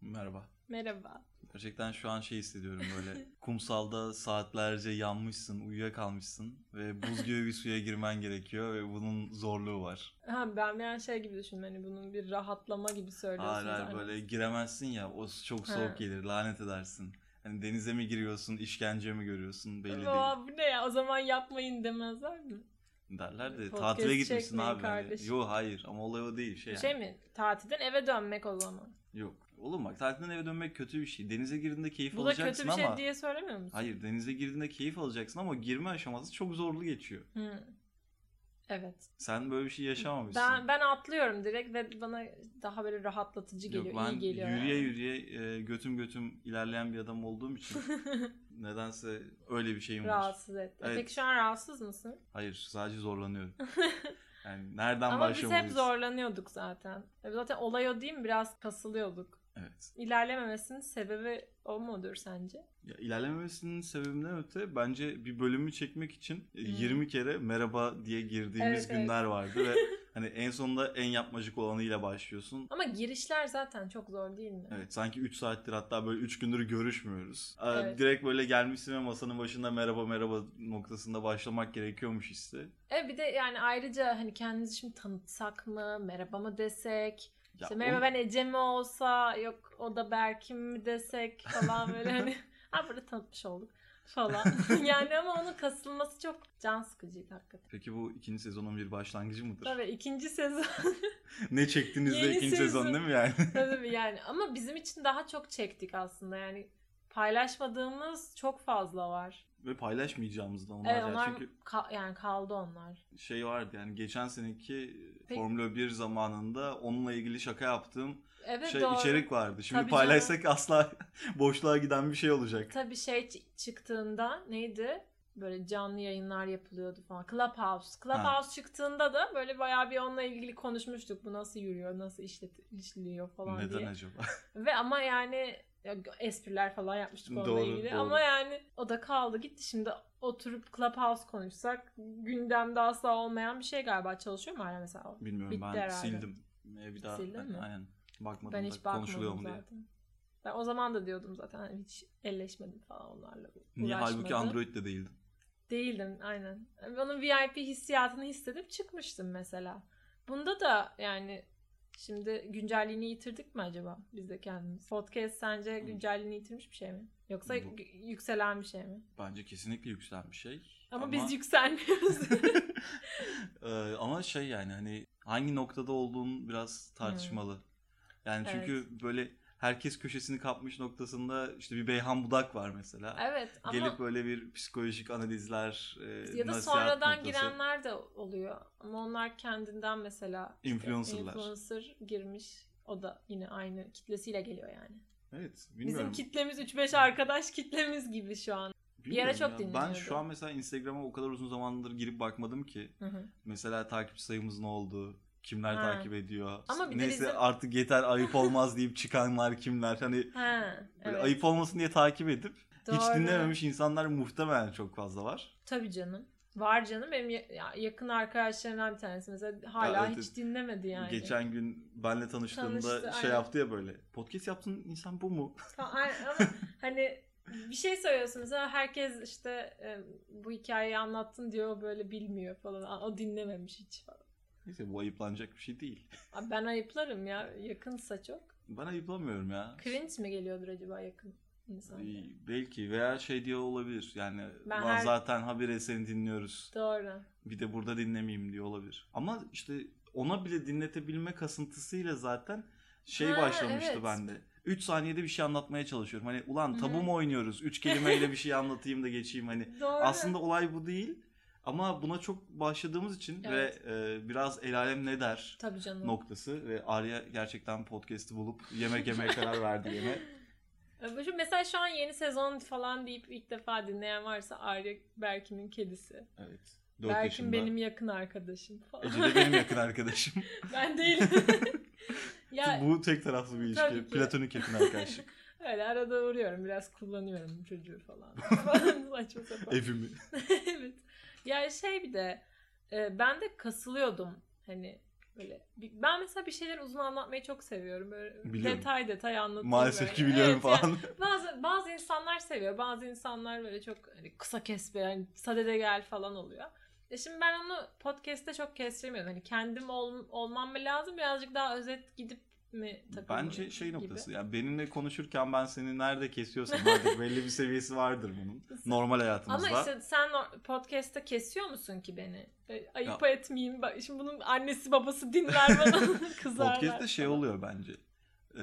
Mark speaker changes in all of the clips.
Speaker 1: Merhaba.
Speaker 2: Merhaba.
Speaker 1: Gerçekten şu an şey hissediyorum böyle. kumsalda saatlerce yanmışsın, uyuyakalmışsın ve buz gibi bir suya girmen gerekiyor ve bunun zorluğu var.
Speaker 2: Ha, ben bir an şey gibi düşündüm hani bunun bir rahatlama gibi hani söylüyorsun.
Speaker 1: Hayır hayır böyle giremezsin ya o su çok soğuk
Speaker 2: Ha.
Speaker 1: gelir lanet edersin. Hani denize mi giriyorsun, işkence mi görüyorsun belli değil
Speaker 2: Aa, bu ne ya o zaman yapmayın demezler mi?
Speaker 1: derler de
Speaker 2: Podcast
Speaker 1: tatile gitmişsin
Speaker 2: çekmeyin
Speaker 1: abi. Hani.
Speaker 2: kardeşim.
Speaker 1: Yo hayır ama olay o değil şey,
Speaker 2: Şey
Speaker 1: yani.
Speaker 2: mi tatilden eve dönmek o zaman.
Speaker 1: Yok. Oğlum bak tatilden eve dönmek kötü bir şey. Denize girdiğinde keyif
Speaker 2: Bu da
Speaker 1: alacaksın
Speaker 2: kötü bir şey
Speaker 1: ama
Speaker 2: diye söylemiyor musun?
Speaker 1: Hayır denize girdiğinde keyif alacaksın ama girme aşaması çok zorlu geçiyor.
Speaker 2: Hı. Evet.
Speaker 1: Sen böyle bir şey yaşamamışsın.
Speaker 2: Ben, ben atlıyorum direkt ve bana daha böyle rahatlatıcı
Speaker 1: Yok,
Speaker 2: geliyor.
Speaker 1: ben
Speaker 2: iyi geliyor.
Speaker 1: yürüye
Speaker 2: yani.
Speaker 1: yürüye e, götüm götüm ilerleyen bir adam olduğum için nedense öyle bir şeyim var.
Speaker 2: Rahatsız etti.
Speaker 1: Evet.
Speaker 2: Peki şu an rahatsız mısın?
Speaker 1: Hayır sadece zorlanıyorum. yani nereden
Speaker 2: Ama biz hep
Speaker 1: başlamalıyız?
Speaker 2: zorlanıyorduk zaten. E Zaten olay o değil mi? Biraz kasılıyorduk.
Speaker 1: Evet.
Speaker 2: İlerlememesinin sebebi o mudur sence?
Speaker 1: Ya, ilerlememesinin sebebinden öte bence bir bölümü çekmek için e,
Speaker 2: Hmm.
Speaker 1: 20 kere merhaba diye girdiğimiz
Speaker 2: Evet, evet.
Speaker 1: günler vardı ve hani en sonunda en yapmacık olanıyla başlıyorsun.
Speaker 2: Ama girişler zaten çok zor değil mi?
Speaker 1: Evet sanki 3 saattir hatta böyle 3 gündür görüşmüyoruz. Ee,
Speaker 2: Evet.
Speaker 1: Direkt böyle gelmişsin ve masanın başında merhaba merhaba noktasında başlamak gerekiyormuş işte.
Speaker 2: E bir de yani ayrıca hani kendimizi şimdi tanıtsak mı? Merhaba mı desek?
Speaker 1: Ya
Speaker 2: işte merhaba
Speaker 1: o-
Speaker 2: ben Ece mi olsa? Yok o da Berk'im mi desek falan böyle hani. Ha burada tanıtmış olduk falan. yani ama onun kasılması çok can sıkıcıydı hakikaten.
Speaker 1: Peki bu ikinci sezonun bir başlangıcı mıdır?
Speaker 2: Tabii ikinci sezon.
Speaker 1: ne çektiniz de
Speaker 2: Yeni
Speaker 1: ikinci sezon.
Speaker 2: sezon.
Speaker 1: değil mi yani?
Speaker 2: Tabii yani ama bizim için daha çok çektik aslında yani paylaşmadığımız çok fazla var.
Speaker 1: ve paylaşmayacağımızdan onlar,
Speaker 2: Evet
Speaker 1: ya.
Speaker 2: onlar
Speaker 1: çünkü
Speaker 2: ka- yani kaldı onlar.
Speaker 1: şey vardı yani geçen seneki
Speaker 2: Peki.
Speaker 1: Formula 1 zamanında onunla ilgili şaka yaptığım
Speaker 2: Evet
Speaker 1: şey
Speaker 2: doğru.
Speaker 1: içerik vardı. Şimdi
Speaker 2: Tabii
Speaker 1: paylaşsak asla boşluğa giden bir şey olacak.
Speaker 2: Tabii şey çı- çıktığında neydi? Böyle canlı yayınlar yapılıyordu falan. Clubhouse. Clubhouse çıktığında da böyle bayağı bir onunla ilgili konuşmuştuk. Bu nasıl yürüyor, nasıl işlet- işliyor falan
Speaker 1: Neden
Speaker 2: diye.
Speaker 1: acaba?
Speaker 2: Ve ama yani ya, espriler falan yapmıştık onunla
Speaker 1: Doğru,
Speaker 2: ilgili.
Speaker 1: doğru.
Speaker 2: Ama yani o da kaldı gitti. Şimdi oturup Clubhouse konuşsak gündemde asla olmayan bir şey galiba. Çalışıyor mu hala mesela o?
Speaker 1: Bilmiyorum
Speaker 2: Bitti
Speaker 1: ben
Speaker 2: herhalde.
Speaker 1: sildim. Ee, Bir daha
Speaker 2: Sildin mi?
Speaker 1: aynen bakmadım
Speaker 2: Ben
Speaker 1: da
Speaker 2: hiç
Speaker 1: konuşuluyor
Speaker 2: bakmadım
Speaker 1: mu diye.
Speaker 2: zaten. Ben o zaman da diyordum zaten hani hiç elleşmedim falan onlarla.
Speaker 1: Niye halbuki
Speaker 2: uğraşmadım.
Speaker 1: Android de değildim.
Speaker 2: Değildim aynen. Onun VIP hissiyatını hissedip çıkmıştım mesela. Bunda da yani şimdi güncelliğini yitirdik mi acaba biz de kendimiz? Podcast sence
Speaker 1: Hmm.
Speaker 2: güncelliğini yitirmiş bir şey mi? Yoksa
Speaker 1: Bu-
Speaker 2: gü- yükselen bir şey mi?
Speaker 1: Bence kesinlikle yükselen bir şey.
Speaker 2: Ama, biz yükselmiyoruz.
Speaker 1: Ee, ama şey yani hani hangi noktada olduğun biraz tartışmalı.
Speaker 2: Hmm.
Speaker 1: Yani çünkü böyle herkes köşesini kapmış noktasında işte bir Beyhan Budak var mesela.
Speaker 2: evet ama
Speaker 1: Gelip böyle bir psikolojik analizler, e,
Speaker 2: ya da
Speaker 1: nasihat
Speaker 2: sonradan
Speaker 1: noktası.
Speaker 2: girenler de oluyor. Ama onlar kendinden mesela işte
Speaker 1: Influencerlar.
Speaker 2: influencer girmiş. O da yine aynı kitlesiyle geliyor yani.
Speaker 1: Evet, bilmiyorum.
Speaker 2: Bizim kitlemiz 3-5 arkadaş kitlemiz gibi şu an.
Speaker 1: Bilmiyorum
Speaker 2: yere çok
Speaker 1: ya. Ben
Speaker 2: dinleniyordu.
Speaker 1: şu an mesela Instagram'a o kadar uzun zamandır girip bakmadım ki.
Speaker 2: Hı hı.
Speaker 1: Mesela takip sayımız ne oldu? Kimler
Speaker 2: Ha.
Speaker 1: takip ediyor?
Speaker 2: Ama bir de
Speaker 1: Neyse
Speaker 2: bizim-
Speaker 1: artık yeter ayıp olmaz deyip çıkanlar kimler? Hani
Speaker 2: Ha,
Speaker 1: Böyle
Speaker 2: evet.
Speaker 1: ayıp olmasın diye takip edip hiç
Speaker 2: Doğru.
Speaker 1: dinlememiş insanlar muhtemelen çok fazla var.
Speaker 2: Tabii canım. Var canım benim ya- ya- yakın arkadaşlarımdan bir tanesi mesela hala
Speaker 1: Ha, evet,
Speaker 2: hiç
Speaker 1: evet.
Speaker 2: dinlemedi yani.
Speaker 1: Geçen gün benle tanıştığımda
Speaker 2: Tanıştı,
Speaker 1: şey
Speaker 2: aynen.
Speaker 1: yaptı ya böyle. Podcast yaptığın insan bu mu?
Speaker 2: Ha, aynen ama hani bir şey söylüyorsun mesela herkes işte e, bu hikayeyi anlattın diyor o böyle bilmiyor falan. Aa, O dinlememiş hiç.
Speaker 1: Neyse bu ayıplanacak bir şey değil.
Speaker 2: Aa, Ben ayıplarım ya yakınsa çok.
Speaker 1: Ben ayıplamıyorum ya.
Speaker 2: Cringe mi geliyordur acaba yakın insan?
Speaker 1: Ee, Belki veya şey diye olabilir. Yani
Speaker 2: Ben
Speaker 1: "Lan
Speaker 2: her-
Speaker 1: zaten habire seni dinliyoruz.
Speaker 2: Doğru.
Speaker 1: Bir de burada dinlemeyeyim diye olabilir. Ama işte ona bile dinletebilme kasıntısıyla zaten şey
Speaker 2: Ha,
Speaker 1: başlamıştı
Speaker 2: evet.
Speaker 1: bende. 3 saniyede bir şey anlatmaya çalışıyorum. Hani ulan
Speaker 2: Hı.
Speaker 1: tabu mu oynuyoruz? 3 kelimeyle bir şey anlatayım da geçeyim hani.
Speaker 2: Doğru.
Speaker 1: Aslında olay bu değil ama buna çok başladığımız için
Speaker 2: Evet.
Speaker 1: ve e, biraz el alem ne der
Speaker 2: Tabii canım.
Speaker 1: noktası ve Arya gerçekten podcast'i bulup yemek yemeye karar verdi yine.
Speaker 2: Ee, şu- Mesela şu an yeni sezon falan deyip ilk defa dinleyen varsa Arya Berk'in kedisi.
Speaker 1: Evet. 4
Speaker 2: Berk'in
Speaker 1: yaşında.
Speaker 2: benim yakın arkadaşım falan.
Speaker 1: Ece de benim yakın arkadaşım.
Speaker 2: ben değilim. ya
Speaker 1: bu tek taraflı bir
Speaker 2: Tabii
Speaker 1: ilişki.
Speaker 2: ki.
Speaker 1: Platonik yakın arkadaşlık.
Speaker 2: öyle arada uğruyorum biraz kullanıyorum çocuğu falan. Saçma sapan.
Speaker 1: Evimi.
Speaker 2: evet. Ya şey bir de e, ben de kasılıyordum hani Böyle bir- ben mesela bir şeyler uzun anlatmayı çok seviyorum. Böyle
Speaker 1: Biliyorum.
Speaker 2: detay detay anlatıyorum.
Speaker 1: Maalesef
Speaker 2: böyle.
Speaker 1: ki biliyorum
Speaker 2: Evet,
Speaker 1: falan.
Speaker 2: yani bazı bazı insanlar seviyor. Bazı insanlar böyle çok hani kısa kes be, yani sadede gel falan oluyor. E şimdi ben onu podcast'te çok kestiremiyorum. Hani kendim ol- olmam mı lazım? Birazcık daha özet gidip mi takılmalıyım
Speaker 1: Bence şey
Speaker 2: gibi.
Speaker 1: noktası. Yani benimle konuşurken ben seni nerede kesiyorsam artık belli bir seviyesi vardır bunun. Normal hayatımızda.
Speaker 2: Ama işte sen o- podcast'te kesiyor musun ki beni? Böyle Ayıp etmeyeyim. Bak, Şimdi bunun annesi babası dinler bana kızarlar.
Speaker 1: Podcast'te şey
Speaker 2: falan.
Speaker 1: oluyor bence. Ee,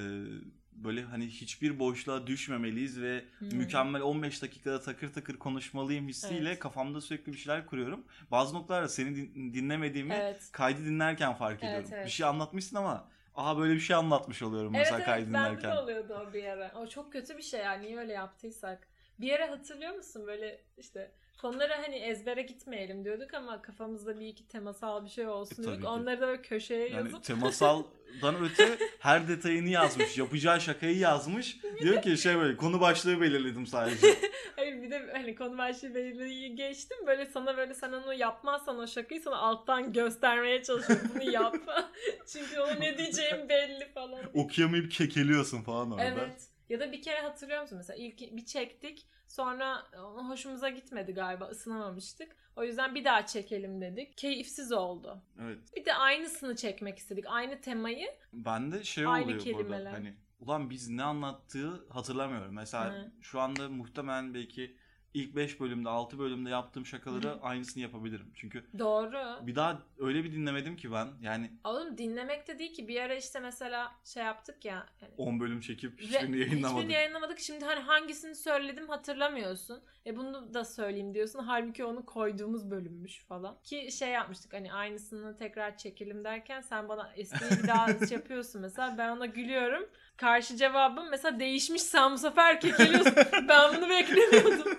Speaker 1: böyle hani hiçbir boşluğa düşmemeliyiz ve
Speaker 2: Hmm.
Speaker 1: mükemmel 15 dakikada takır takır konuşmalıyım hissiyle
Speaker 2: Evet.
Speaker 1: kafamda sürekli bir şeyler kuruyorum. Bazı noktalarda seni din- dinlemediğimi
Speaker 2: Evet.
Speaker 1: kaydı dinlerken fark
Speaker 2: Evet,
Speaker 1: ediyorum.
Speaker 2: evet.
Speaker 1: Bir şey anlatmışsın ama aha böyle bir şey anlatmış oluyorum
Speaker 2: Evet
Speaker 1: mesela
Speaker 2: evet
Speaker 1: kaydı
Speaker 2: bende
Speaker 1: dinlerken.
Speaker 2: de oluyordu o bir ara. O çok kötü bir şey yani niye öyle yaptıysak. Bir ara hatırlıyor musun böyle işte konulara hani ezbere gitmeyelim diyorduk ama kafamızda bir iki temasal bir şey
Speaker 1: E,
Speaker 2: olsun
Speaker 1: tabii
Speaker 2: diyorduk.
Speaker 1: ki.
Speaker 2: Onları da böyle köşeye
Speaker 1: Yani
Speaker 2: yazıp
Speaker 1: temasaldan öte her detayını yazmış. Yapacağı şakayı yazmış. Diyor ki şey böyle konu başlığı belirledim sadece.
Speaker 2: hayır bir de hani konu başlığı belirleyi geçtim böyle sana böyle sen onu yapmazsan o şakayı sana alttan göstermeye çalışıyorum bunu yap. Çünkü ona ne diyeceğim belli falan.
Speaker 1: Okuyamayıp kekeliyorsun falan orada.
Speaker 2: Evet. Ya da bir kere hatırlıyor musun mesela ilk bir çektik sonra ona hoşumuza gitmedi galiba ısınamamıştık. O yüzden bir daha çekelim dedik. Keyifsiz oldu.
Speaker 1: evet.
Speaker 2: Bir de aynısını çekmek istedik. Aynı temayı.
Speaker 1: Bende şey
Speaker 2: Aynı
Speaker 1: oluyor
Speaker 2: kelimeler.
Speaker 1: burada hani ulan biz ne anlattığı hatırlamıyorum. Mesela
Speaker 2: Hı.
Speaker 1: şu anda muhtemelen belki ilk 5 bölümde 6 bölümde yaptığım şakaları
Speaker 2: Hı.
Speaker 1: aynısını yapabilirim. Çünkü
Speaker 2: Doğru.
Speaker 1: bir daha öyle bir dinlemedim ki ben yani
Speaker 2: Oğlum dinlemek de değil ki bir ara işte mesela şey yaptık ya. yani
Speaker 1: 10 bölüm çekip
Speaker 2: Re-
Speaker 1: hiçbirini yayınlamadım.
Speaker 2: Hiçbirini yayınlamadık. Şimdi hani hangisini söyledim hatırlamıyorsun. E bunu da söyleyeyim diyorsun. Halbuki onu koyduğumuz bölümmüş falan. Ki şey yapmıştık hani aynısını tekrar çekelim derken sen bana espriyi bir daha şey yapıyorsun mesela. Ben ona gülüyorum. Karşı cevabım mesela değişmiş sen bu sefer kekeliyorsun. ben bunu beklemiyordum.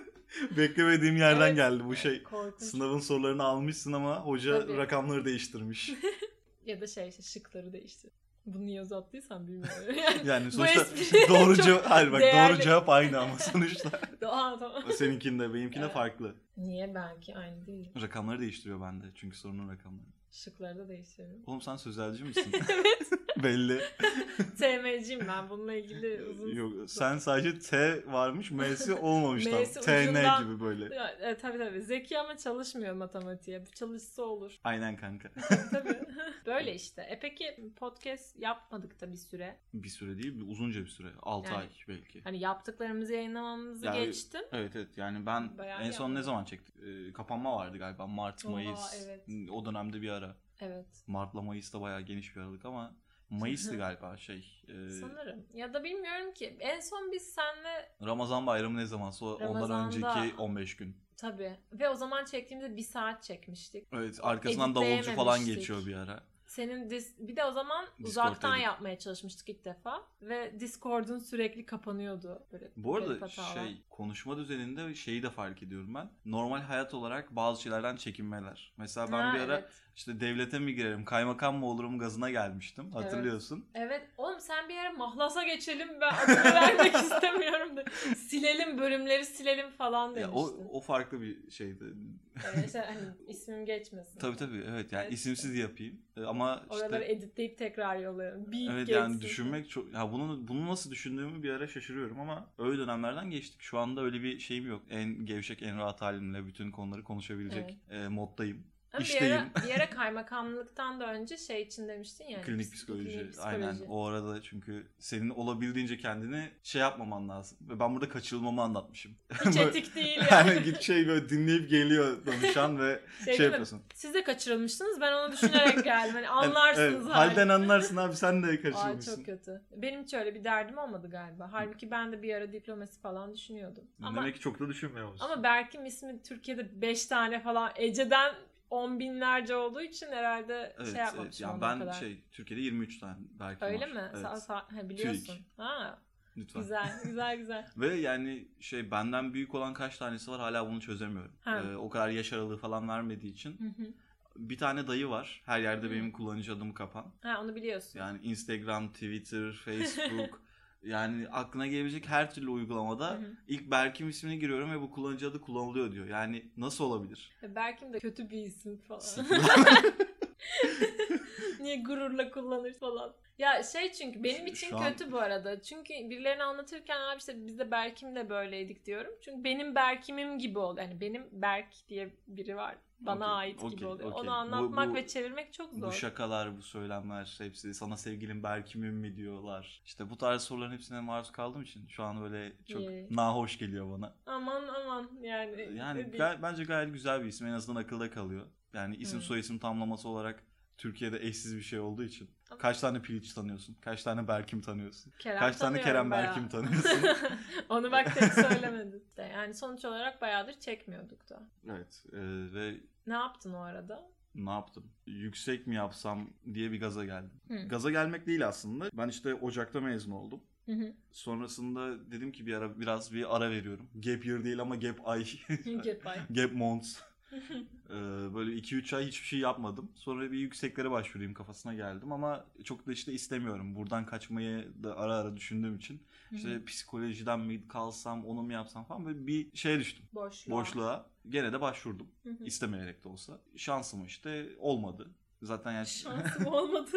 Speaker 1: Beklemediğim yerden
Speaker 2: Evet.
Speaker 1: geldi bu şey.
Speaker 2: Korkunç.
Speaker 1: Sınavın sorularını almışsın ama hoca
Speaker 2: Tabii.
Speaker 1: rakamları değiştirmiş.
Speaker 2: Ya da şey işte şıkları değiştir. Bunu niye uzattıysan bilmiyorum. Yani,
Speaker 1: Yani
Speaker 2: Bu
Speaker 1: sonuçta
Speaker 2: espri
Speaker 1: doğru
Speaker 2: çok
Speaker 1: cevap hayır bak
Speaker 2: değerli.
Speaker 1: doğru cevap aynı ama sonuçta
Speaker 2: Aa, tamam.
Speaker 1: seninkinde benimkinde
Speaker 2: Evet.
Speaker 1: farklı.
Speaker 2: Niye belki aynı değil.
Speaker 1: Rakamları değiştiriyor bende çünkü sorunun rakamları.
Speaker 2: Şıkları da değiştiriyorum.
Speaker 1: Oğlum sen sözelci misin? Belli.
Speaker 2: TM'ciyim ben bununla ilgili Ee, uzun
Speaker 1: Yok sen sadece T varmış M'si olmamış tam.
Speaker 2: M'si
Speaker 1: TN
Speaker 2: ucundan-
Speaker 1: gibi böyle.
Speaker 2: Ya, e, tabii tabii. Zeki ama çalışmıyor matematiğe. Bu çalışsa olur.
Speaker 1: Aynen kanka.
Speaker 2: tabii. Böyle işte. E peki podcast yapmadık da bir süre.
Speaker 1: Bir süre değil bir- uzunca bir süre. 6
Speaker 2: Yani.
Speaker 1: ay belki.
Speaker 2: Hani yaptıklarımızı yayınlamamızı
Speaker 1: Yani-
Speaker 2: geçtim.
Speaker 1: Evet evet yani ben
Speaker 2: Bayağı
Speaker 1: en son
Speaker 2: yapmadım.
Speaker 1: ne zaman çektik? Ee, kapanma vardı galiba Mart,
Speaker 2: Oha,
Speaker 1: Mayıs.
Speaker 2: evet.
Speaker 1: O dönemde bir ara.
Speaker 2: Evet.
Speaker 1: Mart'la Mayıs'ta bayağı geniş bir aralık ama Mayıs'tı galiba şey. e,
Speaker 2: Sanırım. Ya da bilmiyorum ki. En son biz senle
Speaker 1: Ramazan bayramı ne zamansa o- ondan
Speaker 2: Ramazan'da-
Speaker 1: önceki 15 gün.
Speaker 2: tabii. Ve o zaman çektiğimizde bir saat çekmiştik.
Speaker 1: Evet arkasından davulcu falan
Speaker 2: Editleyememiştik.
Speaker 1: geçiyor bir ara.
Speaker 2: Senin dis- bir de o zaman
Speaker 1: Discord
Speaker 2: uzaktan
Speaker 1: edit.
Speaker 2: yapmaya çalışmıştık ilk defa ve Discord'un sürekli kapanıyordu. Böyle
Speaker 1: Bu
Speaker 2: garip
Speaker 1: arada
Speaker 2: hatalar.
Speaker 1: şey konuşma düzeninde şeyi de fark ediyorum ben. Normal hayat olarak bazı şeylerden çekinmeler. Mesela ben
Speaker 2: Ha,
Speaker 1: bir ara
Speaker 2: evet.
Speaker 1: işte devlete mi girerim, kaymakam mı olurum gazına gelmiştim. Hatırlıyorsun.
Speaker 2: Evet oğlum sen bir yere mahlasa geçelim ben adını vermek istemiyorum de. Silelim bölümleri silelim falan
Speaker 1: Ya
Speaker 2: demiştin.
Speaker 1: o o farklı bir şeydi.
Speaker 2: Yani işte hani ismim geçmesin.
Speaker 1: Tabii tabii evet yani
Speaker 2: Evet.
Speaker 1: isimsiz yapayım. E, Ama
Speaker 2: Oraları
Speaker 1: işte
Speaker 2: editleyip tekrar yollayalım. Bir
Speaker 1: evet
Speaker 2: geçsin.
Speaker 1: yani düşünmek çok ya bunu bunu nasıl düşündüğümü bir ara şaşırıyorum ama öyle dönemlerden geçtik. Şu anda öyle bir şeyim yok. En gevşek, en rahat halimle bütün konuları konuşabilecek e, moddayım.
Speaker 2: Ama bir,
Speaker 1: işteyim.
Speaker 2: ara, bir ara kaymakamlıktan da önce şey için demiştin yani.
Speaker 1: Klinik psikoloji. Aynen. O arada çünkü senin olabildiğince kendini şey yapmaman lazım. Ve ben burada kaçırılmamı anlatmışım.
Speaker 2: Hiç
Speaker 1: Böyle-
Speaker 2: etik değil yani.
Speaker 1: yani git şey böyle dinleyip geliyor danışan ve
Speaker 2: Şey
Speaker 1: şey
Speaker 2: değil mi?
Speaker 1: yapıyorsun.
Speaker 2: Siz de kaçırılmışsınız ben onu düşünerek geldim. Hani
Speaker 1: Evet,
Speaker 2: anlarsınız
Speaker 1: evet,
Speaker 2: hali.
Speaker 1: Halden anlarsın abi sen de
Speaker 2: Aa, çok
Speaker 1: kaçırmışsın.
Speaker 2: kötü. Benim hiç öyle bir derdim olmadı galiba. Halbuki ben de bir ara diplomasi falan düşünüyordum. Ama
Speaker 1: Demek ki çok da düşünmüyoruz.
Speaker 2: Ama şey Berk'im ismi Türkiye'de 5 tane falan Ece'den on binlerce olduğu için herhalde
Speaker 1: evet,
Speaker 2: şey
Speaker 1: evet.
Speaker 2: yapmamışım
Speaker 1: Yani
Speaker 2: ondan
Speaker 1: ben
Speaker 2: kadar.
Speaker 1: şey Türkiye'de 23 tane belki
Speaker 2: Öyle
Speaker 1: var.
Speaker 2: mi?
Speaker 1: Evet,
Speaker 2: Sa- sa- ha, biliyorsun. Ha,
Speaker 1: lütfen.
Speaker 2: güzel, güzel, güzel.
Speaker 1: Ve yani şey benden büyük olan kaç tanesi var hala bunu çözemiyorum.
Speaker 2: Ha.
Speaker 1: Ee, o kadar yaş aralığı falan vermediği için.
Speaker 2: Hı hı.
Speaker 1: Bir tane dayı var. Her yerde
Speaker 2: Hı.
Speaker 1: benim kullanıcı adım kapan.
Speaker 2: ha, onu biliyorsun.
Speaker 1: Yani Instagram, Twitter, Facebook yani aklına gelebilecek her türlü
Speaker 2: Hı
Speaker 1: uygulamada
Speaker 2: hı.
Speaker 1: ilk Berkim ismini giriyorum ve bu kullanıcı adı kullanılıyor diyor. Yani nasıl olabilir?
Speaker 2: Berk'im de kötü bir isim falan.
Speaker 1: Sıfır.
Speaker 2: Niye gururla kullanır falan. Ya şey çünkü benim
Speaker 1: Şu-
Speaker 2: için
Speaker 1: şu an-
Speaker 2: kötü bu arada. Çünkü birilerini anlatırken abi işte biz de Berk'imle böyleydik diyorum. Çünkü benim Berk'imim gibi oldu. Yani benim Berk diye biri var. Bana
Speaker 1: Okey,
Speaker 2: ait gibi
Speaker 1: okey,
Speaker 2: oluyor.
Speaker 1: okey.
Speaker 2: Onu
Speaker 1: Bu-
Speaker 2: anlatmak
Speaker 1: bu-
Speaker 2: ve çevirmek çok zor.
Speaker 1: Bu şakalar, bu söylemler hepsi sana sevgilim Berkim'im mi diyorlar. İşte bu tarz soruların hepsine maruz kaldığım için şu an böyle çok
Speaker 2: Yay.
Speaker 1: nahoş geliyor bana.
Speaker 2: Aman aman yani.
Speaker 1: Yani
Speaker 2: değil.
Speaker 1: gay- bence gayet güzel bir isim. En azından akılda kalıyor. Yani isim
Speaker 2: Hmm.
Speaker 1: soyisim tamlaması olarak Türkiye'de eşsiz bir şey olduğu için.
Speaker 2: Ama-
Speaker 1: Kaç tane Piliç tanıyorsun? Kaç tane Berkim tanıyorsun?
Speaker 2: Kerem
Speaker 1: kaç tane
Speaker 2: tanıyorum
Speaker 1: Kerem
Speaker 2: bayağı.
Speaker 1: Berkim tanıyorsun?
Speaker 2: Onu bak tek söylemedin. İşte yani sonuç olarak bayağıdır çekmiyorduk da.
Speaker 1: evet. e, ve
Speaker 2: Ne yaptın o arada?
Speaker 1: ne yaptım? Yüksek mi yapsam diye bir gaza geldim.
Speaker 2: Hı.
Speaker 1: Gaza gelmek değil aslında. Ben işte Ocak'ta mezun oldum.
Speaker 2: Hı hı.
Speaker 1: Sonrasında dedim ki bir ara biraz bir ara veriyorum. Gap year değil ama gap ay.
Speaker 2: Get by.
Speaker 1: gap months. Ee, böyle 2-3 ay hiçbir şey yapmadım. Sonra bir yükseklere başvurayım kafasına geldim ama çok da işte istemiyorum. Buradan kaçmayı da ara ara düşündüğüm için. İşte psikolojiden mi kalsam, onu mu yapsam falan böyle bir şeye düştüm.
Speaker 2: Boşluğa.
Speaker 1: Boşluğa. Gene de başvurdum.
Speaker 2: Hı hı.
Speaker 1: İstemeyerek de olsa. Şansım işte olmadı. Zaten yani
Speaker 2: Şansım olmadı.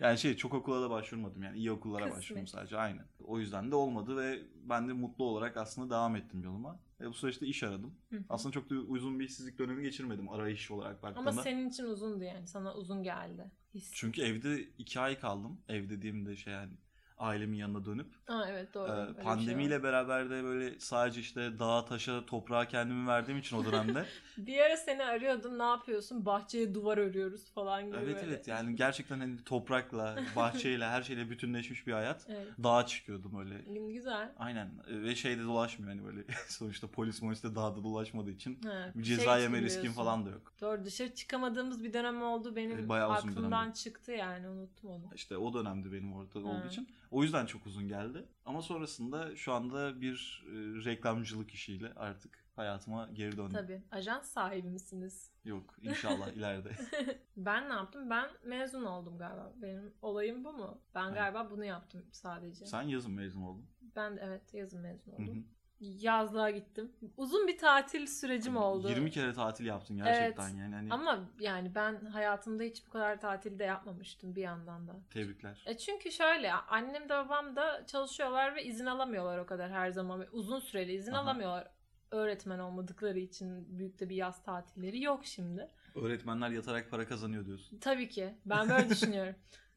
Speaker 1: Yani şey çok okula da başvurmadım yani iyi okullara
Speaker 2: Kısmet.
Speaker 1: başvurdum sadece aynen. O yüzden de olmadı ve ben de mutlu olarak aslında devam ettim yoluma. E, bu süreçte iş aradım.
Speaker 2: Hı hı.
Speaker 1: Aslında çok da uzun bir işsizlik dönemi geçirmedim arayış olarak baktığımda.
Speaker 2: Ama senin için uzundu yani. Sana uzun geldi. His.
Speaker 1: Çünkü evde iki ay kaldım. Ev dediğimde şey yani ailemin yanına dönüp.
Speaker 2: Aa, evet doğru.
Speaker 1: e,
Speaker 2: Öyle bir şey
Speaker 1: pandemiyle beraber de böyle sadece işte dağa taşa toprağa kendimi verdiğim için o dönemde.
Speaker 2: var. Bir ara seni arıyordum ne yapıyorsun bahçeye duvar örüyoruz falan gibi
Speaker 1: evet
Speaker 2: böyle.
Speaker 1: evet yani gerçekten hani toprakla, bahçeyle her şeyle bütünleşmiş bir hayat.
Speaker 2: Evet.
Speaker 1: Dağa çıkıyordum öyle
Speaker 2: Güzel.
Speaker 1: Aynen E, ve şeyde dolaşmıyor hani böyle sonuçta polis molis de dağda dolaşmadığı için
Speaker 2: Ha,
Speaker 1: bir
Speaker 2: şey
Speaker 1: ceza
Speaker 2: için
Speaker 1: yeme riskin
Speaker 2: diyorsun.
Speaker 1: falan da yok.
Speaker 2: Doğru dışarı çıkamadığımız bir dönem oldu benim
Speaker 1: Evet, bayağı uzun bir
Speaker 2: aklımdan
Speaker 1: dönemdi.
Speaker 2: çıktı yani unuttum onu.
Speaker 1: İşte o dönemde benim orada
Speaker 2: Hı.
Speaker 1: olduğu için. O yüzden çok uzun geldi. Ama sonrasında şu anda bir e, reklamcılık işiyle artık hayatıma geri döndüm.
Speaker 2: Tabii ajans sahibi misiniz?
Speaker 1: Yok inşallah ileride.
Speaker 2: Ben ne yaptım? Ben mezun oldum galiba. Benim olayım bu mu? Ben
Speaker 1: Evet.
Speaker 2: galiba bunu yaptım sadece.
Speaker 1: Sen yazın mezun oldun. Hani
Speaker 2: Ben de evet yazın mezun
Speaker 1: Hı
Speaker 2: oldum.
Speaker 1: hı.
Speaker 2: Yazlığa gittim. Uzun bir tatil sürecim oldu.
Speaker 1: 20 Hani kere tatil yaptın gerçekten yani. Hani
Speaker 2: Ama yani ben hayatımda hiç bu kadar tatilde yapmamıştım bir yandan da.
Speaker 1: Tebrikler.
Speaker 2: E çünkü şöyle annem de babam da çalışıyorlar ve izin alamıyorlar o kadar her zaman. Ve Uzun süreli izin
Speaker 1: Aha.
Speaker 2: alamıyorlar. Öğretmen olmadıkları için büyük de bir yaz tatilleri yok şimdi.
Speaker 1: Öğretmenler yatarak para kazanıyor diyorsun.
Speaker 2: Tabii ki. Ben böyle düşünüyorum.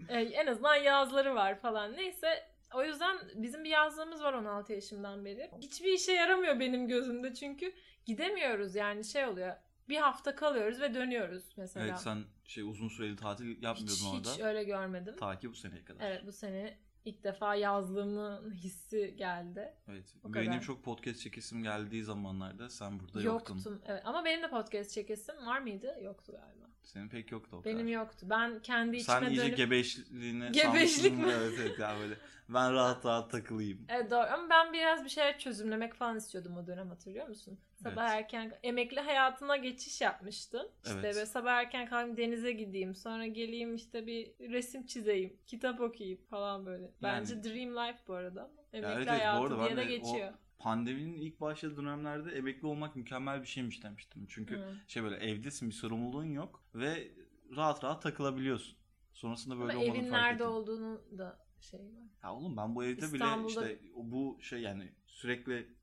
Speaker 2: E, en azından yazları var falan. Neyse o yüzden bizim bir yazlığımız var 16 yaşımdan beri. Hiçbir işe yaramıyor benim gözümde çünkü gidemiyoruz yani şey oluyor. Bir hafta kalıyoruz ve dönüyoruz mesela.
Speaker 1: Evet sen şey uzun süreli tatil yapmıyordun
Speaker 2: hiç,
Speaker 1: orada.
Speaker 2: hiç öyle görmedim.
Speaker 1: Ta ki bu seneye kadar.
Speaker 2: Evet bu sene ilk defa yazlığımın hissi geldi.
Speaker 1: Evet.
Speaker 2: O
Speaker 1: benim
Speaker 2: kadar.
Speaker 1: çok podcast çekesim geldiği zamanlarda sen burada
Speaker 2: Yoktum.
Speaker 1: yoktun.
Speaker 2: Evet. Ama benim de podcast çekesim var mıydı? Yoktu galiba.
Speaker 1: Senin pek yoktu o
Speaker 2: Benim
Speaker 1: kadar.
Speaker 2: yoktu. Ben kendi içime
Speaker 1: Sen iyice
Speaker 2: dönüp...
Speaker 1: gebeşliğine
Speaker 2: Gebeşlik
Speaker 1: salmışsın.
Speaker 2: mi?
Speaker 1: evet evet yani böyle ben rahat rahat takılayım.
Speaker 2: Evet E, doğru ama ben biraz bir şeyler çözümlemek falan istiyordum o dönem hatırlıyor musun? Sabah
Speaker 1: Evet.
Speaker 2: erken emekli hayatına geçiş yapmıştım. İşte
Speaker 1: Evet.
Speaker 2: böyle sabah erken kalkayım denize gideyim sonra geleyim işte bir resim çizeyim, kitap okuyayım falan böyle. Bence dream life bu arada. ama Emekli
Speaker 1: evet, bu
Speaker 2: hayatı
Speaker 1: arada
Speaker 2: diye
Speaker 1: ben
Speaker 2: de
Speaker 1: de o-
Speaker 2: geçiyor.
Speaker 1: Pandeminin ilk başladığı dönemlerde emekli olmak mükemmel bir şeymiş demiştim. Çünkü
Speaker 2: Hı.
Speaker 1: şey böyle evdesin bir sorumluluğun yok ve rahat rahat takılabiliyorsun. Sonrasında böyle
Speaker 2: Ama
Speaker 1: olmadığını
Speaker 2: evin
Speaker 1: fark
Speaker 2: nerede
Speaker 1: ettim.
Speaker 2: olduğunu da şey var.
Speaker 1: Ya oğlum ben bu evde
Speaker 2: İstanbul'da-
Speaker 1: bile işte o- bu şey yani sürekli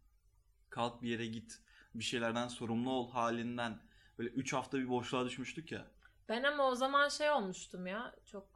Speaker 1: kalk bir yere git bir şeylerden sorumlu ol halinden böyle 3 hafta bir boşluğa düşmüştük ya.
Speaker 2: Ben ama o zaman şey olmuştum ya çok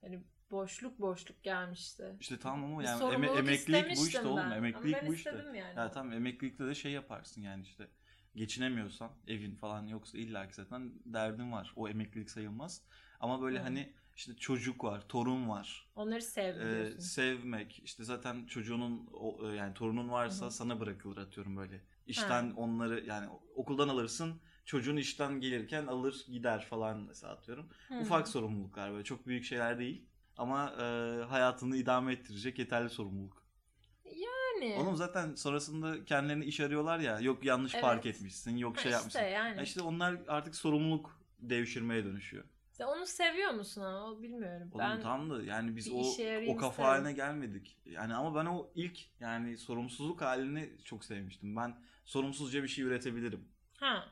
Speaker 2: hani boşluk boşluk gelmişti.
Speaker 1: İşte tamam ama
Speaker 2: Bir
Speaker 1: yani eme-
Speaker 2: sorumluluk
Speaker 1: emeklilik bu
Speaker 2: istemiştim
Speaker 1: işte
Speaker 2: ben.
Speaker 1: oğlum
Speaker 2: Ama
Speaker 1: emeklilik
Speaker 2: ben
Speaker 1: bu işte.
Speaker 2: istedim yani.
Speaker 1: Ya tamam emeklilikte de şey yaparsın yani işte geçinemiyorsan evin falan yoksa illa ki zaten derdin var. O emeklilik sayılmaz. Ama böyle
Speaker 2: Hı.
Speaker 1: hani işte çocuk var, torun var.
Speaker 2: Onları
Speaker 1: Ee,
Speaker 2: sevmiyorsun.
Speaker 1: sevmek işte zaten çocuğunun o- e, yani torunun varsa
Speaker 2: Hı hı.
Speaker 1: sana bırakılır atıyorum böyle. İşten onları yani okuldan alırsın. Çocuğun işten gelirken alır gider falan mesela atıyorum.
Speaker 2: Hı.
Speaker 1: Ufak sorumluluklar böyle çok büyük şeyler değil. Ama e, hayatını idame ettirecek yeterli sorumluluk.
Speaker 2: yani,
Speaker 1: Oğlum zaten sonrasında kendilerini iş arıyorlar ya. Yok yanlış
Speaker 2: Evet.
Speaker 1: park etmişsin, yok
Speaker 2: Ha,
Speaker 1: şey yapmışsın.
Speaker 2: işte yani.
Speaker 1: Ya işte onlar artık sorumluluk devşirmeye dönüşüyor.
Speaker 2: Sen onu seviyor musun ama o bilmiyorum.
Speaker 1: Oğlum
Speaker 2: ben
Speaker 1: tam da yani biz
Speaker 2: bir
Speaker 1: o
Speaker 2: işe yarayayım
Speaker 1: o kafa
Speaker 2: isterim.
Speaker 1: haline gelmedik. Yani ama ben o ilk yani sorumsuzluk halini çok sevmiştim. Ben sorumsuzca bir şey üretebilirim.
Speaker 2: ha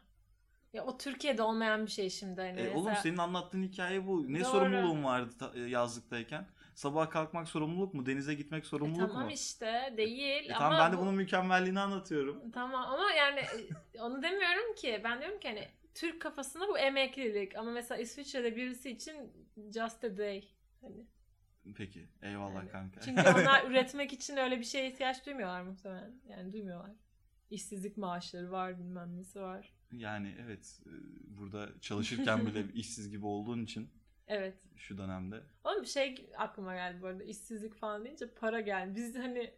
Speaker 2: Ya o Türkiye'de olmayan bir şey şimdi hani.
Speaker 1: E,
Speaker 2: Mesela-
Speaker 1: oğlum senin anlattığın hikaye bu. Ne
Speaker 2: Doğru.
Speaker 1: sorumluluğun vardı ta- e, yazlıktayken? Sabah kalkmak sorumluluk mu? Denize gitmek
Speaker 2: E,
Speaker 1: sorumluluk
Speaker 2: tamam
Speaker 1: mu?
Speaker 2: işte değil
Speaker 1: E,
Speaker 2: ama
Speaker 1: tamam ben de
Speaker 2: bu-
Speaker 1: bunun mükemmelliğini anlatıyorum.
Speaker 2: Tamam ama yani e, onu demiyorum ki. Ben diyorum ki hani Türk kafasında bu emeklilik ama mesela İsviçre'de birisi için just a day. Hani.
Speaker 1: Peki. Eyvallah
Speaker 2: Yani.
Speaker 1: kanka.
Speaker 2: Çünkü onlar üretmek için öyle bir şeye ihtiyaç duymuyorlar muhtemelen. Yani duymuyorlar. İşsizlik maaşları var bilmem nesi var.
Speaker 1: yani evet e, burada çalışırken bile işsiz gibi olduğun için
Speaker 2: Evet.
Speaker 1: şu dönemde.
Speaker 2: Ama bir şey aklıma geldi bu arada. İşsizlik falan deyince para geldi. Biz hani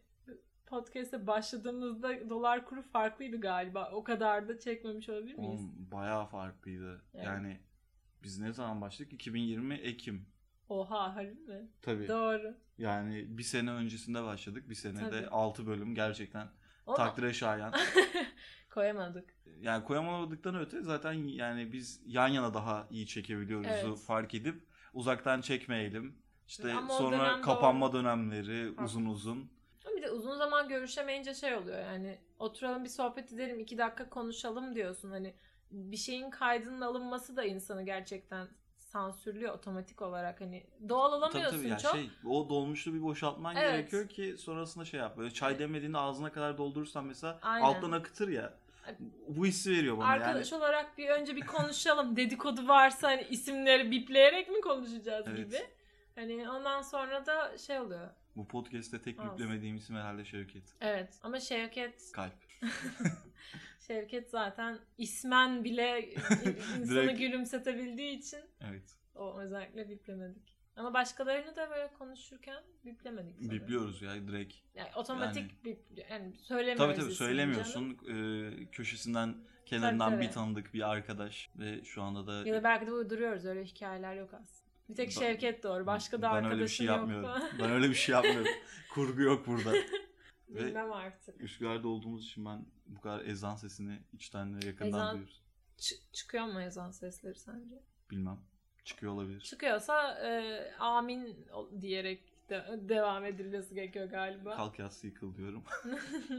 Speaker 2: podcast'e başladığımızda dolar kuru farklıydı galiba. O kadar da çekmemiş olabilir miyiz?
Speaker 1: Oğlum, bayağı farklıydı.
Speaker 2: Evet.
Speaker 1: Yani biz ne zaman başladık? 2020 Ekim.
Speaker 2: Oha harbi mi?
Speaker 1: Tabii.
Speaker 2: Doğru.
Speaker 1: Yani bir sene öncesinde başladık. Bir
Speaker 2: Tabii.
Speaker 1: senede 6 bölüm gerçekten
Speaker 2: Onu
Speaker 1: takdire şayan.
Speaker 2: koyamadık.
Speaker 1: Yani koyamadıktan öte zaten yani biz yan yana daha iyi çekebiliyoruz
Speaker 2: Evet.
Speaker 1: fark edip uzaktan çekmeyelim. İşte
Speaker 2: Ama o
Speaker 1: sonra
Speaker 2: dönem
Speaker 1: kapanma dönemleri
Speaker 2: Haklı.
Speaker 1: uzun uzun.
Speaker 2: Ama bir de uzun zaman görüşemeyince şey oluyor yani oturalım bir sohbet edelim iki dakika konuşalım diyorsun hani bir şeyin kaydının alınması da insanı gerçekten sansürlüyor otomatik olarak hani doğal
Speaker 1: Tabii
Speaker 2: olamıyorsun
Speaker 1: tabii yani
Speaker 2: çok.
Speaker 1: şey o dolmuşlu bir boşaltman
Speaker 2: Evet.
Speaker 1: gerekiyor ki sonrasında şey yap. Böyle çay demediğini ağzına kadar doldurursan mesela
Speaker 2: Aynen.
Speaker 1: alttan akıtır ya. Bu hissi veriyor bana
Speaker 2: Arkadaş olarak bir önce bir konuşalım dedikodu varsa hani isimleri bipleyerek mi konuşacağız
Speaker 1: Evet.
Speaker 2: gibi. Hani ondan sonra da şey oluyor.
Speaker 1: yani. Bu podcast'te tek
Speaker 2: Olsun.
Speaker 1: yüklemediğim isim herhalde Şevket.
Speaker 2: Evet ama Şevket
Speaker 1: Kalp.
Speaker 2: Şevket zaten ismen bile insanı
Speaker 1: Direkt.
Speaker 2: gülümsetebildiği için
Speaker 1: Evet.
Speaker 2: O özellikle biplemedik. Ama başkalarını da böyle konuşurken biplemedik. sanırım.
Speaker 1: Bipliyoruz ya direkt.
Speaker 2: Yani otomatik
Speaker 1: Yani-
Speaker 2: bip, yani söylemiyoruz.
Speaker 1: Tabii tabii
Speaker 2: ismini canım.
Speaker 1: söylemiyorsun. Ee, köşesinden, kenarından
Speaker 2: Tabii, tabii.
Speaker 1: bir tanıdık, bir arkadaş ve şu anda da
Speaker 2: Ya da belki de uyduruyoruz öyle hikayeler yok aslında. Bir tek
Speaker 1: Ben-
Speaker 2: Şevket doğru. Başka da
Speaker 1: ben
Speaker 2: arkadaşım
Speaker 1: öyle bir şey
Speaker 2: yok.
Speaker 1: yapmıyorum. ben öyle bir şey yapmıyorum. Kurgu yok burada. Ve-
Speaker 2: Bilmem artık.
Speaker 1: Üsküdar'da olduğumuz için ben bu kadar ezan sesini içten ve yakından
Speaker 2: Ezan-
Speaker 1: duyuyoruz.
Speaker 2: Çı- çıkıyor mu ezan sesleri sence?
Speaker 1: Bilmem. Çıkıyor olabilir.
Speaker 2: Çıkıyorsa e, amin ol- diyerek de- devam edilmesi gerekiyor galiba.
Speaker 1: Kalk yassı yıkıl diyorum.